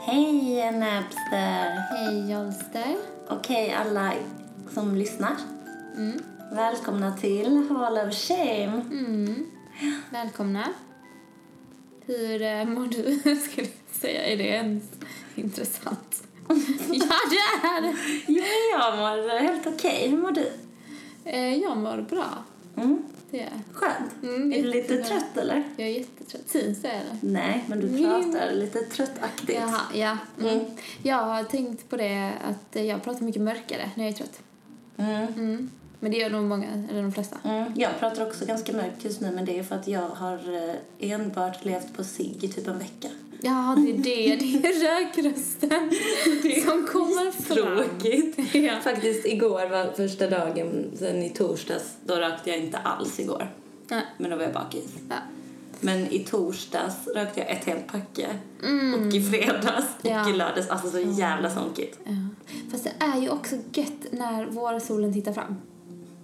Hej Näbster! Hej Jolster. Okej alla som lyssnar. Mm. Välkomna till Hall of Shame. Mm. Välkomna. Hur eh, mår du? Jag skulle säga, är det ens intressant? ja, det är det. Jo, jag mår helt okej. Hur mår du? Eh, Jag mår bra. Mm. Det är. Skönt. Mm, är du lite jättebra. trött eller? Mm. Jag är jättetrött. Tis är det. Nej, men du Jo. pratar lite tröttaktigt. Jaha, ja. Mm. Mm. Jag har tänkt på det att eh, jag pratar mycket mörkare när jag är trött. Mm. Mm. Men det gör nog många, eller de flesta. Mm. Jag pratar också ganska mörkt just nu, men det är för att jag har eh, enbart levt på cigg i typ en vecka. Ja, det är det. Det är rökrösten som kommer fram. Tråkigt. Ja. Faktiskt igår var första dagen sen i torsdags. Då rökte jag inte alls igår. Nej. Men då var jag bakis. Ja. Men i torsdags rökte jag ett helt packe. Mm. Och i fredags och Ja. i lördags. Alltså så jävla sonkigt. Ja. Fast det är ju också gött när vårsolen tittar fram.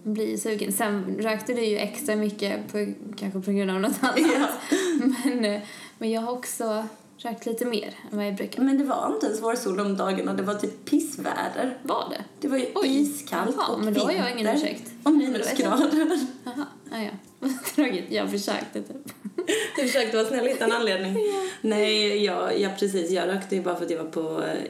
Man blir ju sugen. Sen rökte du ju extra mycket, på, kanske på grund av något annat. Men, eh, men jag har också rökt lite mer än vad jag brukar. Men det var inte ens vårsol de dagarna. Det var typ pissväder. Var det? Det var ju Oj. iskallt Jaha, och men då har jag vinter. ingen ursäkt. Och Men då vet minusgrader. Jaha, ah, ja. Vad tråkigt. Jag försökte typ. Du försökte vara snäll utan anledning. Nej, jag, jag, precis. Jag rökte ju bara för att jag var på eh,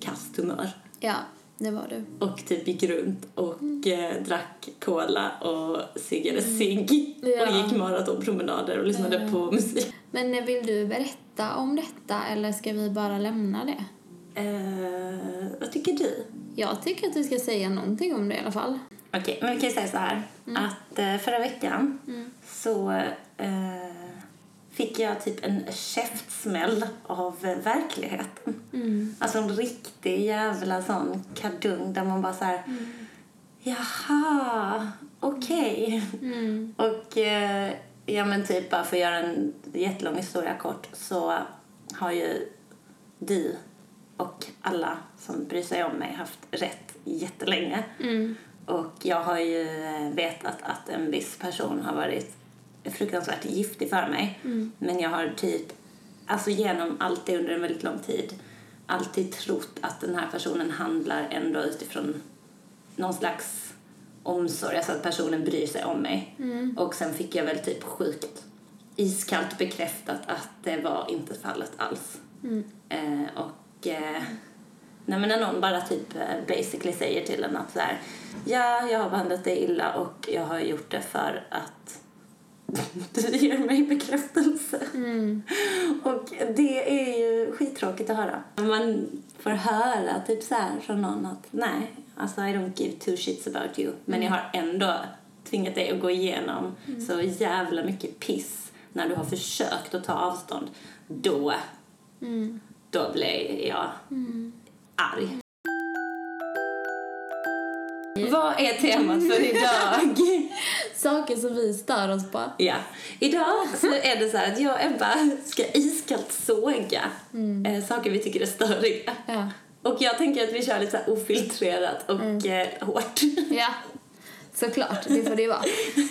kasst humör. Ja, det var du. Och typ gick runt och eh, drack cola och ciggade cigg. Ja. Och gick maratonpromenader och lyssnade på musik. Men eh, vill du berätta om detta eller ska vi bara lämna det? Eh, vad tycker du? Jag tycker att du ska säga någonting om det i alla fall. Okej, men vi kan ju säga så här. Att eh, förra veckan så eh, fick jag typ en käftsmäll av eh, verkligheten. Alltså en riktig jävla sån kadung där man bara så här... Jaha, okej. Och eh, ja men typ bara för att göra en jättelång historia kort så har ju du och alla som bryr sig om mig haft rätt jättelänge. Och jag har ju eh, vetat att en viss person har varit fruktansvärt giftig för mig. Men jag har typ, alltså genom allt det under en väldigt lång tid, alltid trott att den här personen handlar ändå utifrån någon slags omsorg, alltså att personen bryr sig om mig. Och sen fick jag väl typ sjukt iskallt bekräftat att det var inte fallet alls. Eh, och eh, nej, men när någon bara typ eh, basically säger till en att så här, ja, jag har behandlat dig illa och jag har gjort det för att du ger mig bekräftelse. Och det är ju skittråkigt att höra. Man får höra typ så här från någon att nej, alltså I don't give two shits about you. Men jag har ändå tvingat dig att gå igenom så jävla mycket piss när du har försökt att ta avstånd. Då, då blir jag arg. Vad är temat för idag? Saker som vi stör oss på. Ja. Idag så är det så här att jag och Ebba ska iskallt såga eh, saker vi tycker är störiga. Ja. Och jag tänker att vi kör lite så här ofiltrerat och eh, hårt. Ja, såklart. Det får det ju vara.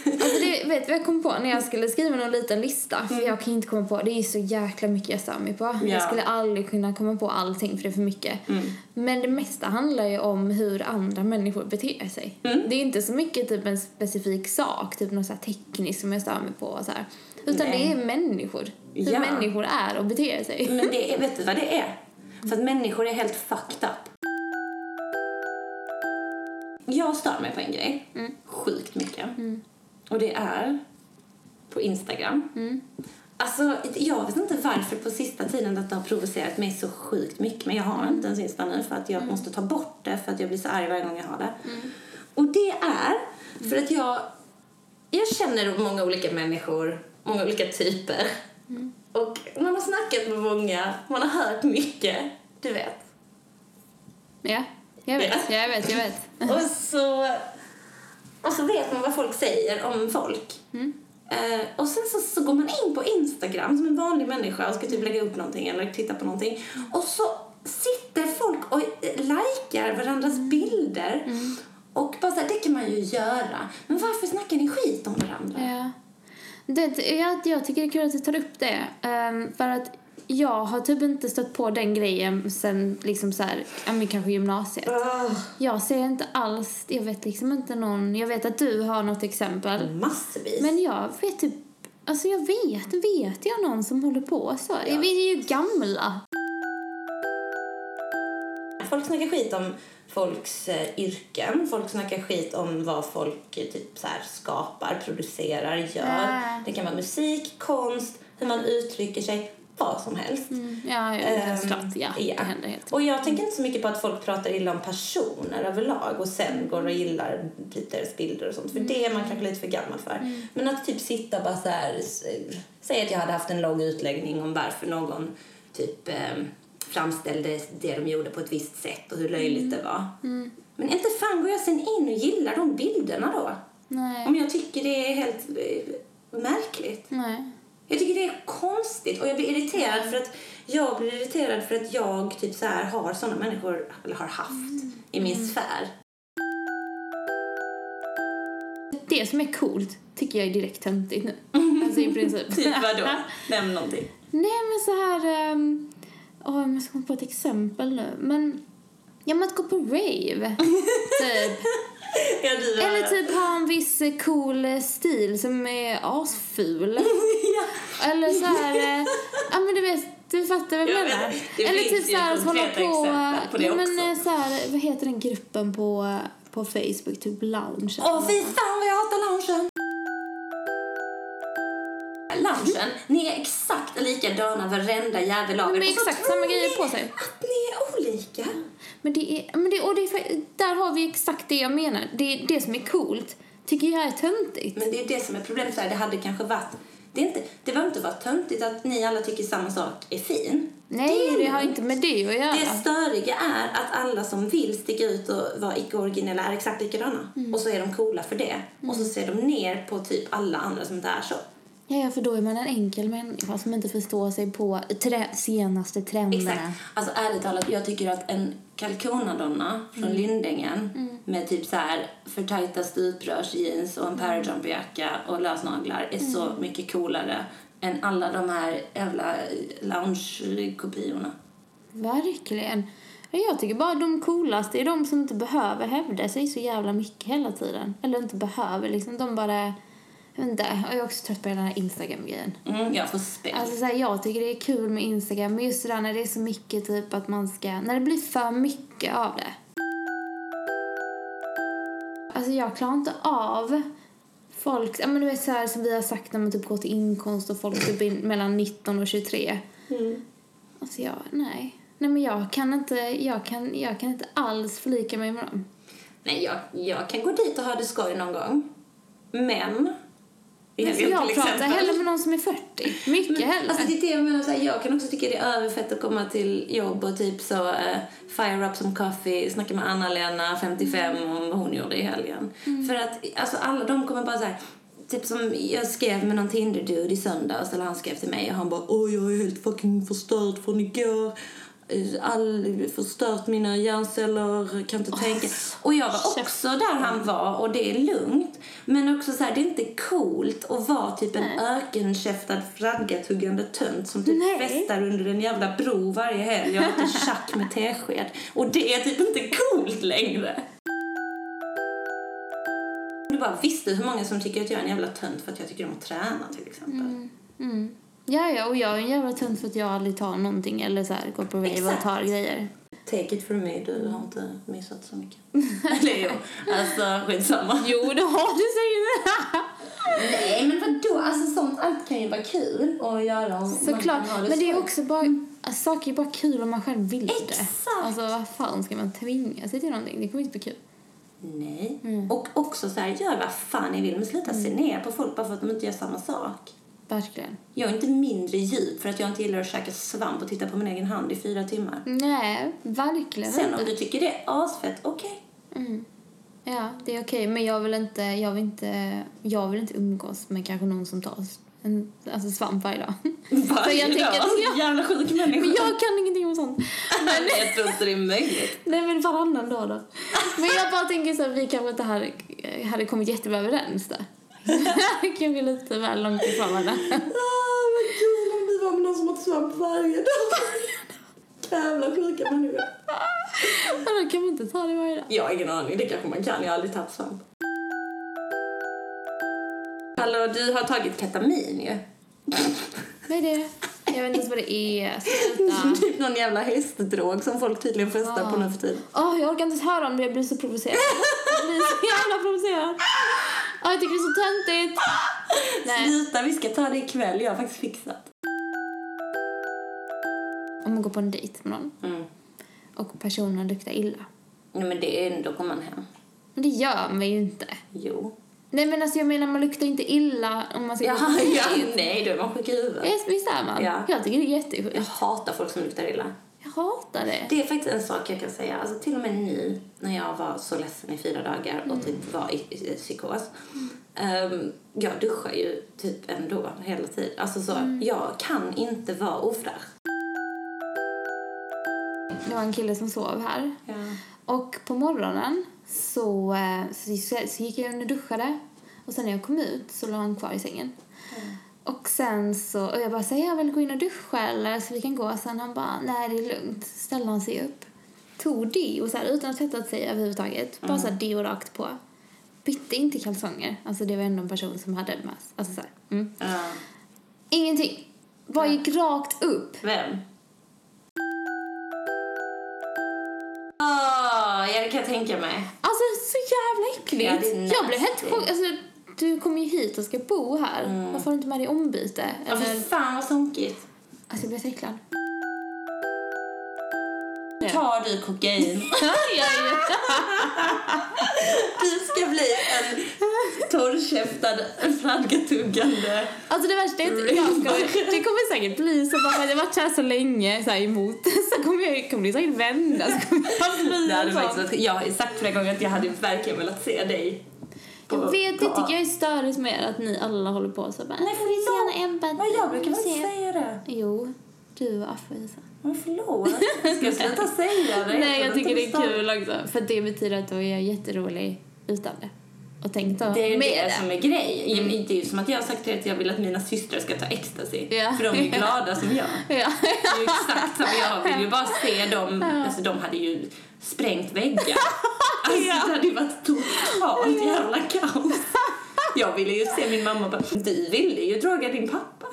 Alltså det, vet du vad jag kom på när jag skulle skriva någon liten lista? För jag kan inte komma på, det är ju så jäkla mycket jag stör mig på. Mm. Ja. Mm. Jag skulle aldrig kunna komma på allting för det är för mycket. Men det mesta handlar ju om hur andra människor beter sig. Mm. Det är inte så mycket typ en specifik sak, typ något så här tekniskt som jag stör mig på och så här. Utan Nej. det är människor. Hur Ja. Mm. människor är och beter sig. Men det är, vet du vad det är? För att människor är helt fucked up. Jag stör mig på en grej sjukt mycket. Och det är på Instagram. Alltså, jag vet inte varför på sista tiden detta har provocerat mig så sjukt mycket. Men jag har inte ens Insta nu för att jag måste ta bort det för att jag blir så arg varje gång jag har det. Och det är för att jag, jag känner många olika människor, många olika typer. Och man har snackat med många, man har hört mycket, du vet. Ja, jag vet, Ja. jag vet, jag vet. Och så, och så vet man vad folk säger om folk. Eh, och sen så, så går man in på Instagram som en vanlig människa och ska typ lägga upp någonting eller titta på någonting. Och så sitter folk och eh, likar varandras bilder. Och bara så här, det kan man ju göra. Men varför snackar ni skit Eh. om varandra? Ja. Det, jag, jag tycker det är kul att du tar upp det. ehm, för att Jag har typ inte stött på den grejen sen liksom så här, ja, men kanske gymnasiet. Ah, Jag ser inte alls, jag vet liksom inte någon, jag vet att du har något exempel. Massvis. Men jag vet typ, alltså jag vet, vet jag någon som håller på så? Ja. Vi är ju gamla. Folk snackar skit om folks eh, yrken. Folk snackar skit om vad folk eh, typ så här, skapar, producerar, gör. Ah. Det kan vara musik, konst, hur man uttrycker sig, vad som helst. Mm, Ja, ja, Ehm, ja såklart. Ja, ja. det händer helt. Och jag tänker inte så mycket på att folk pratar illa om personer överlag och sen går och gillar typ deras bilder och Mm. sånt. För det är man kanske lite för gammal för. Men att typ sitta och bara så här, s- säg att jag hade haft en lång utläggning om varför någon typ eh, framställde det de gjorde på ett visst sätt och hur löjligt Mm. det var. Men inte fan går jag sen in och gillar de bilderna då? Nej. Om jag tycker det är helt eh, märkligt. Nej. Jag tycker det är konstigt och jag blir irriterad för att jag blir irriterad för att jag typ så här har såna människor, eller har haft, i min Mm. sfär. Det som är coolt tycker jag är direkt töntigt nu. Alltså i princip. Nämn någonting. Nej men så här... Um, åh, jag måste komma på ett exempel nu. Men... Ja men att gå på rave. typ. Ja, du Eller typ ha en viss eh, cool eh, stil som är asful. ja. Eller så här... eh, Ja men du vet, du fattar vad jag Jag vet, menar. det Eller finns typ ju så här att hålla konkreta på... exempel på det ja, men också. eh, så här, vad heter den gruppen på, eh, på Facebook? Typ lounge. Åh fy fan vad jag hatar loungen! Loungen, ni är exakt likadana varenda jävel av er. Men Och så exakt tror samma ni grejer på sig. Att ni är olika. Men det är, men det, och det är, fa- där har vi exakt det jag menar. Det, är det som är coolt tycker jag är töntigt. Men det är det som är problemet. Så här, det hade kanske varit... Det, är inte, det behöver inte vara töntigt att ni alla tycker samma sak är fin. Nej, är det har lugnt. inte med det att göra. Det störiga är att alla som vill sticka ut och vara icke-originella är exakt likadana. Och så är de coola för det. Och så ser de ner på typ alla andra som inte är så. Ja, ja, för då är man en enkel människa som inte förstår sig på trä, senaste trenderna. Exakt. Alltså ärligt talat, jag tycker att en kalkonadonna från Lindängen med typ så här för tajta stuprörsjeans och en parajumpjacka och lösnaglar är så mycket coolare än alla de här jävla lounge-kopiorna. Verkligen. Ja, Jag tycker bara de coolaste är de som inte behöver hävda sig så jävla mycket hela tiden. Eller inte behöver liksom. De bara... Jag vet inte. Och jag är också trött på hela den här Instagram-grejen. Mm, jag får spänn. Alltså så här, jag tycker det är kul med Instagram men just det där när det är så mycket typ att man ska, när det blir för mycket av det. Alltså jag klarar inte av folk, ja men du vet så här som vi har sagt när man typ går till inkomst och folk typ är mellan 19 och 23. Alltså jag, nej. Nej men jag kan inte, jag kan, jag kan inte alls förlika mig med dem. Nej, jag, jag kan gå dit och ha det skoj någon gång. Men... Jag, Alltså, jag pratar hellre med någon som är 40. Mycket hellre. Alltså det är det jag menar, så här, jag kan också tycka det är överfett att komma till jobb och typ så eh, fire up some coffee, snacka med Anna-Lena, 55, om vad hon gjorde i helgen. Mm. För att alltså alla de kommer bara så här, typ som jag skrev med någon Tinder-dude i söndags, eller han skrev till mig och han bara åh jag är helt fucking förstörd från igår. Eh, All, förstört mina hjärnceller, kan inte tänka. Och jag var också där han var och det är lugnt. Men också så här, det är inte coolt att vara typ en ökenkäftad flaggatuggande tönt som typ Nej. festar under en jävla bro varje helg och äter tjack med tesked. Och det är typ inte coolt längre. Om Du bara visste hur många som tycker att jag är en jävla tönt för att jag tycker om att träna till exempel. Mm. Ja, ja, och jag är en jävla tunt för att jag aldrig tar någonting eller så här, går på rave och Exakt. tar grejer. Take it from me, du har inte missat så mycket. Eller jo, alltså skitsamma. Jo, det har du säger Nej men vadå, alltså sånt, allt kan ju vara kul att göra om Såklart, ha men det är skoj. också bara... Alltså, saker är bara kul om man själv vill det. Exakt. Alltså, vad fan ska man tvinga sig till någonting? Det kommer inte bli kul. Nej. Mm. Och också så här, gör vad fan ni vill men sluta se ner på folk bara för att de inte gör samma sak. Verkligen. Jag är inte mindre djup för att jag inte gillar att käka svamp och titta på min egen hand i fyra timmar. Nej, verkligen Sen om inte. du tycker det är asfett, okej. Mm. Ja, det är okej, men jag vill inte... Jag vill inte, jag vill inte umgås med kanske någon som tar en, alltså svamp varje dag. För jag tänker att jag- Jävla sjuk människa. Men jag kan ingenting om sånt. jag tror inte det är möjligt. Nej men varannan dag då. Men jag bara tänker så här, vi kanske inte hade, hade kommit jättebra överens där. Kanske lite väl långt ifrån varandra. Ah, vad kul om du var med någon som åt svamp varje dag. Jävla sjuka människor. Vadå, kan man inte ta det varje dag? Jag har ingen aning, det kanske man kan. Jag har aldrig tagit svamp. Hallå, du har tagit ketamin ju. Vad är det? Jag vet inte ens vad det är. Sluta. typ någon jävla hästdrog som folk tydligen festar på nu för tiden. Åh, jag orkar inte ens höra om det. Jag blir så provocerad. Jag blir så jävla provocerad. Åh, jag tycker det är så töntigt. Nej. Sluta, vi ska ta det ikväll. Jag har faktiskt fixat. Om man går på en dejt med någon Mm. och personen luktar illa. Nej men det är ändå kommer man hem. Men det gör man ju inte. Jo. Nej men alltså jag menar man luktar inte illa om man ska gå Jaha, på en ja, dejt. nej då är man sjuk i huvudet. Yes, Visst är man? Ja. Jag tycker det är Jag jättesjukt. hatar folk som luktar illa. Jag hatar det. Det är faktiskt en sak jag kan säga. Alltså, till och med nu, när jag var så ledsen i fyra dagar och typ var i, i, i psykos. ehm, jag duschar ju typ ändå hela tiden. Alltså, så, Jag kan inte vara ofräsch. Det var en kille som sov här. Och på morgonen så, eh, så, så gick jag in och duschade. Och sen när jag kom ut så låg han kvar i sängen. Och sen så, och jag bara säger jag vill gå in och duscha eller så vi kan gå. Sen han bara, nej det är lugnt. Ställde han sig upp. Tog deo så här, utan att tvätta sig överhuvudtaget. Bara så här deo rakt på. Bytte inte kalsonger. Alltså det var ändå en person som hade det med sig. Alltså så här, mm. Ja. Ingenting. Bara gick rakt upp. Vem? Åh, jag kan tänka mig. Alltså så jävla Ja, äckligt. det är jag blev helt nasty. Mm. chockad. Alltså, du kommer ju hit och ska bo här. Varför har du inte med dig ombyte? Ja, Eller, fy fan vad sunkigt. Alltså jag blev så äcklad. Tar du kokain? Du ska bli en torrkäftad, flaggatuggande... alltså det värsta är att jag kommer, det kommer säkert bli så bara för att jag har varit här så länge så här emot så kommer, jag, kommer det säkert vända så kommer jag bli Det hade en sån. faktiskt varit, jag har ju sagt flera gånger att jag hade verkligen velat se dig. på- Jag vet, på- det tycker jag är störigt med att ni alla håller på så bara Nej, för det är "Sen jag- Ebba, Oh Men jag brukar vi väl får inte se." säga det. Jo, du och Afroisa. Men förlåt. Ska jag sluta säga det? Nej, jag För tycker det att är kul också. För det betyder att då är jag jätterolig utan det. Och tänk då Det är ju med Mm. det som är grej. Det är ju som att jag har sagt till dig att jag vill att mina systrar ska ta ecstasy. Ja. För de är ju glada som jag. Ja. Det är ju exakt som jag vill ju bara se dem. Alltså de hade ju sprängt väggar. Alltså det hade ju varit totalt jävla kaos. Jag ville ju se min mamma bara, du ville ju droga din pappa.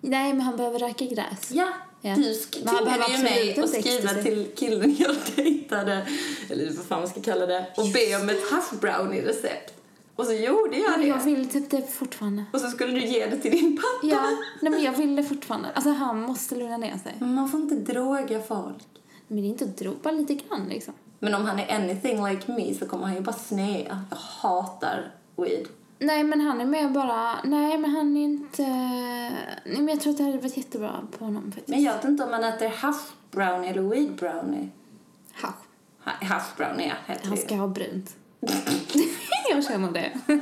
Nej, men han behöver röka gräs. Ja, Ja. du sk- Men han tvingade behöver ju mig absolut att inte skriva ecstasy. till killen jag dejtade, eller vad fan man ska kalla det, och be om ett hash brownie-recept. Och så gjorde jag Men jag det. vill typ det fortfarande. Och så skulle du ge det till din pappa. Ja, nej men jag vill det fortfarande. Alltså han måste lugna ner sig. Men Man får inte droga folk. Men det är inte att dro, bara lite grann liksom. Men om han är anything like me så kommer han ju bara snea. Jag hatar weed. Nej men han är mer bara, nej men han är inte, nej men jag tror att det hade varit jättebra på honom faktiskt. Men jag vet inte om man äter hash brownie eller weed brownie. Ha. Ha- Hash brownie, ja. Heter Han det. ska ha brunt. jag känner det.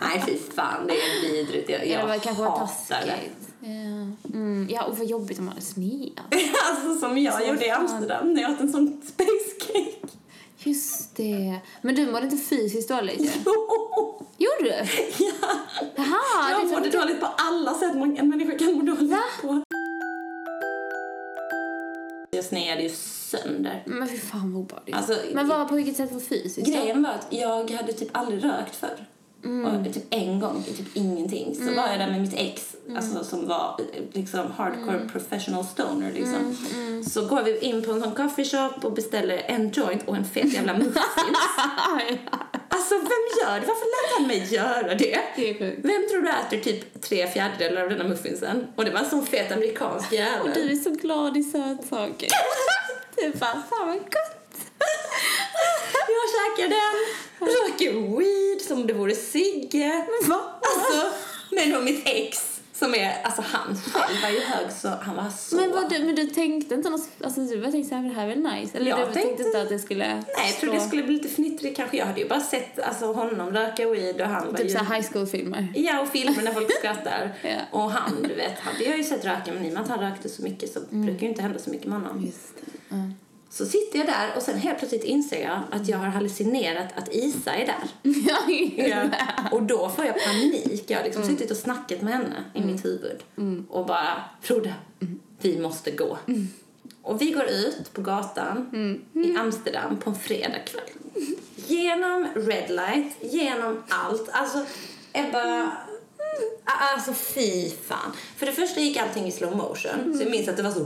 Nej, fy fan. Det är vidrigt. Jag, jag Eller var- kanske var hatar det. taskigt. Ja. Mm, ja, och vad jobbigt om man hade sneat. Alltså som jag Så gjorde i fan. Amsterdam när jag åt en sån space cake. Just det. Men du mådde inte fysiskt dåligt ju. Gjorde du? ja. Jaha! Jag det mådde tror- dåligt på alla sätt man, en människa kan må dåligt på. Jag sneade ju sönder. Men fy fan vad obehagligt. Alltså, men vad, på vilket sätt var fysiskt då? Grejen var att jag hade typ aldrig rökt förr. Mm. Och typ en gång, typ ingenting. Så var jag där med mitt ex Mm. alltså, som var eh, liksom hardcore professional stoner liksom. Mm, Så går vi in på en sån coffee shop och beställer en joint och en fet jävla muffins. Alltså vem gör det? Varför lät han mig göra det? Det är sjukt. Vem tror du äter typ tre fjärdedelar av denna muffinsen? Och det var en sån fet amerikansk Och jävel. du är så glad i sötsaker. du bara, fan vad gott! Jag käkar den, röker weed som det vore cigge. Va? Alltså, men då mitt ex som är, alltså han själv var ju hög så han var så... Men, vad du, men du tänkte inte något, alltså du bara tänkte såhär, det här är väl nice? Eller Jag du tänkte tänkte- inte att det skulle Nej, jag trodde slå- det skulle bli lite fnittrigt kanske. Jag hade ju bara sett alltså, honom röka weed och han var Typ ju... såhär high school-filmer. Ja, och filmer när folk skrattar. Ja. Och han, Mm. du vet, hade jag ju sett röka men i och med att han rökte så mycket så brukar ju inte hända så mycket med honom. Just det. Mm. Så sitter jag där och sen helt plötsligt inser jag att jag har hallucinerat att Isa är där. Ja, Ja. Och då får jag panik. Jag har liksom suttit och snackat med henne i mitt huvud och bara trodde vi måste gå. Och vi går ut på gatan i Amsterdam på en fredagkväll. Genom red light, genom allt. Alltså, Ebba... Alltså, fy fan. För det första gick allting i slow motion. Så jag minns att det var så...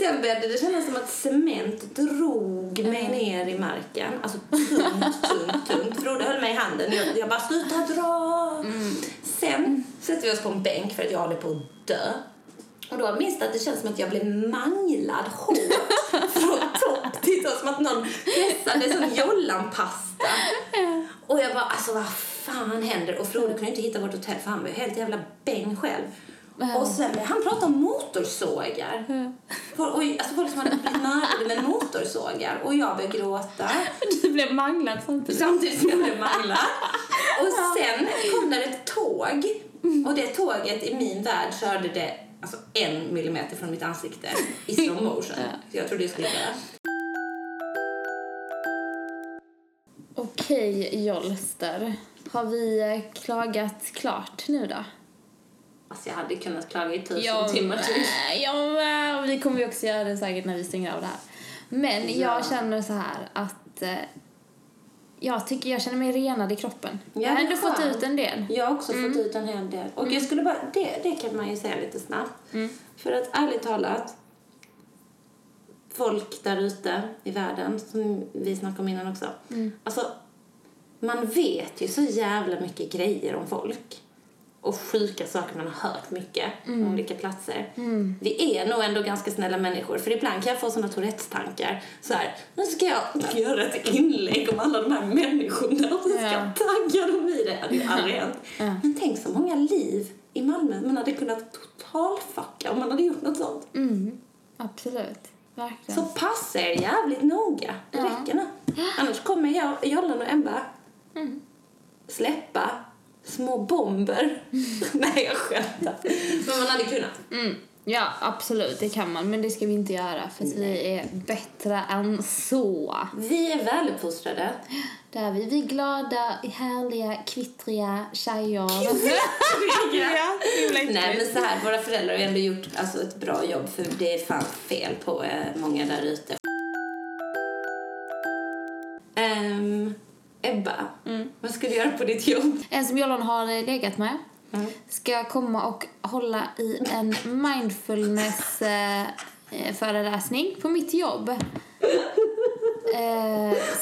Sen började det kännas som att cement drog mig ner i marken. Alltså tungt, tungt, tungt. Frode höll mig i handen. Jag, jag bara, sluta dra! Sen sätter vi oss på en bänk för att jag håller på att dö. Och då minns jag att det känns som att jag blev manglad hårt från topp till tå. Som att någon pressade som Jollanpasta. Och jag bara, alltså vad fan händer? Och Frode kunde inte hitta vårt hotell för han var ju helt jävla bäng själv. Och sen började han pratade om motorsågar. Folk, och, alltså folk som hade blivit mördade med motorsågar. Och jag började gråta. Du blev manglad samtidigt. Samtidigt som jag blev manglad. Och sen kom där ett tåg. Och det tåget i min värld körde det alltså en millimeter från mitt ansikte i slow motion. Så jag trodde jag skulle dö. Okej, Jolster. Har vi eh, klagat klart nu då? Alltså jag hade kunnat klaga i tusen timmar till. med, jag med. Och Eh, vi kommer ju också göra det säkert när vi stänger av det här. Men Ja. jag känner så här att eh, jag tycker jag känner mig renad i kroppen. Ja, jag har det är ändå fått skönt. ut en del. Jag har också fått ut en hel del. Och jag skulle bara, det, det kan man ju säga lite snabbt. För att ärligt talat, folk där ute i världen, som vi snackade om innan också. Alltså, man vet ju så jävla mycket grejer om folk. Och sjuka saker man har hört mycket Mm. om olika platser. Vi är nog ändå ganska snälla människor. För ibland kan jag få såna Tourettes-tankar. Så här, nu ska jag göra ett inlägg om alla de här människorna. Och så ska Ja. jag taggar de i det. Det hade aldrig hänt. Ja. Men tänk så många liv i Malmö man hade kunnat totalfucka om man hade gjort något sånt. Mm, absolut. Verkligen. Så passa er jävligt noga. Det Ja. räcker nu. Annars kommer jag, Jollan och Ebba Mm. släppa små bomber. Nej, jag skämtar. Mm. Men man hade kunnat. Mm, ja, absolut. Det kan man. Men det ska vi inte göra för att vi är bättre än så. Vi är väluppfostrade. Det är vi. Vi är glada, härliga, kvittriga tjejer. Nej, men så här, våra föräldrar har ju ändå gjort alltså, ett bra jobb för det är fan fel på eh, många där ute. Ehm, Ebba, vad ska du göra på ditt jobb? En som Jollan har legat med ska komma och hålla i en mindfulness eh, eh, föreläsning på mitt jobb. Eh,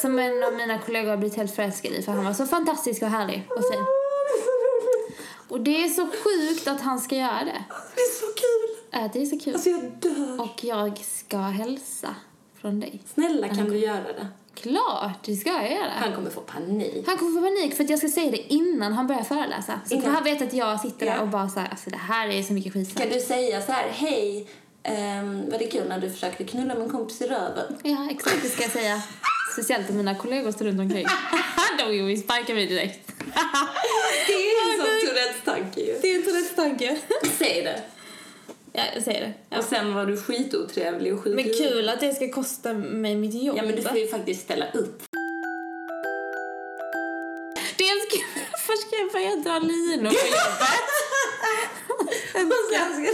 som en av mina kollegor har blivit helt förälskad i för han var så fantastisk och härlig och fin. Och det är så sjukt att han ska göra det. Det är så kul! Eh, det är så kul. Alltså jag dör! Och jag ska hälsa från dig. Snälla kan du göra det? Klart, det ska jag göra. Han kommer få panik. Han kommer få panik för att jag ska säga det innan han börjar föreläsa. Så Innan- han vet att jag sitter Ja. där och bara så här, alltså det här är så mycket skit. Kan du säga så här, hej, um, var det kul när du försökte knulla min kompis i röven? Ja, exakt det ska jag säga. Speciellt när mina kollegor står runt omkring. De vill sparka mig direkt. Det är en sån Tourettes-tanke ju. Det är en Tourettes-tanke. Säg det. Ja, jag säger det. Ja. Och sen var du skitotrevlig och skit... Men kul att det ska kosta mig mitt jobb. Ja, men du får ju faktiskt ställa upp. Dels ska jag, först ska jag börja dra linor på jobbet. Alltså-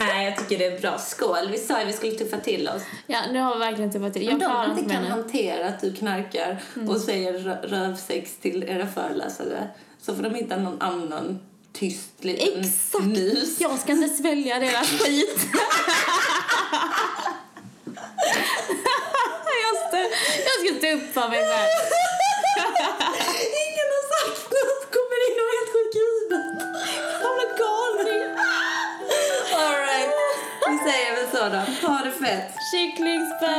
Nej, jag tycker det är bra. Skål! Vi sa ju att vi skulle tuffa till oss. ja, nu har vi verkligen tufpat till. Om Jag klarar de inte inte mig kan nu. hantera att du knarkar och säger rö- rövsex till era föreläsare så får de hitta någon annan tyst liten Exakt. mus. Jag ska inte svälja deras skit. jag, ska, jag ska stå upp för mig själv. Ingen har sagt något! Kommer in och är helt sjuk i huvudet. Jävla galning! Alright, vi säger väl så då. Ha det fett! Kycklingspö!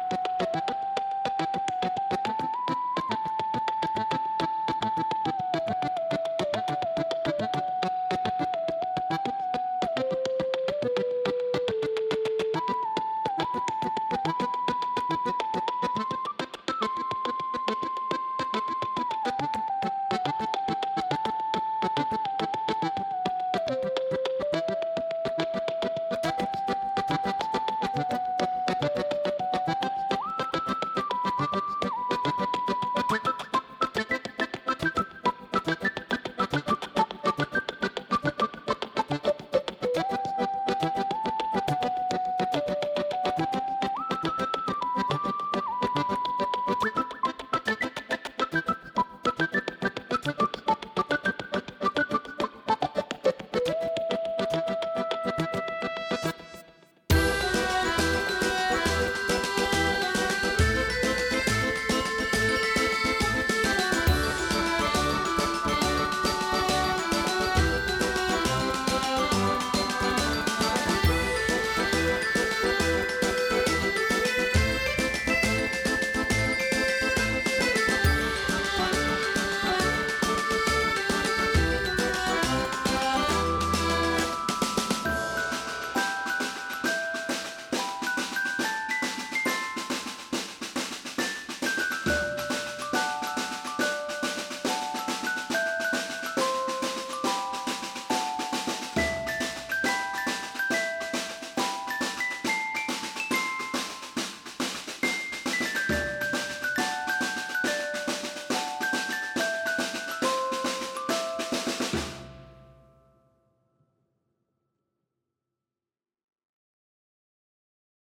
Hej!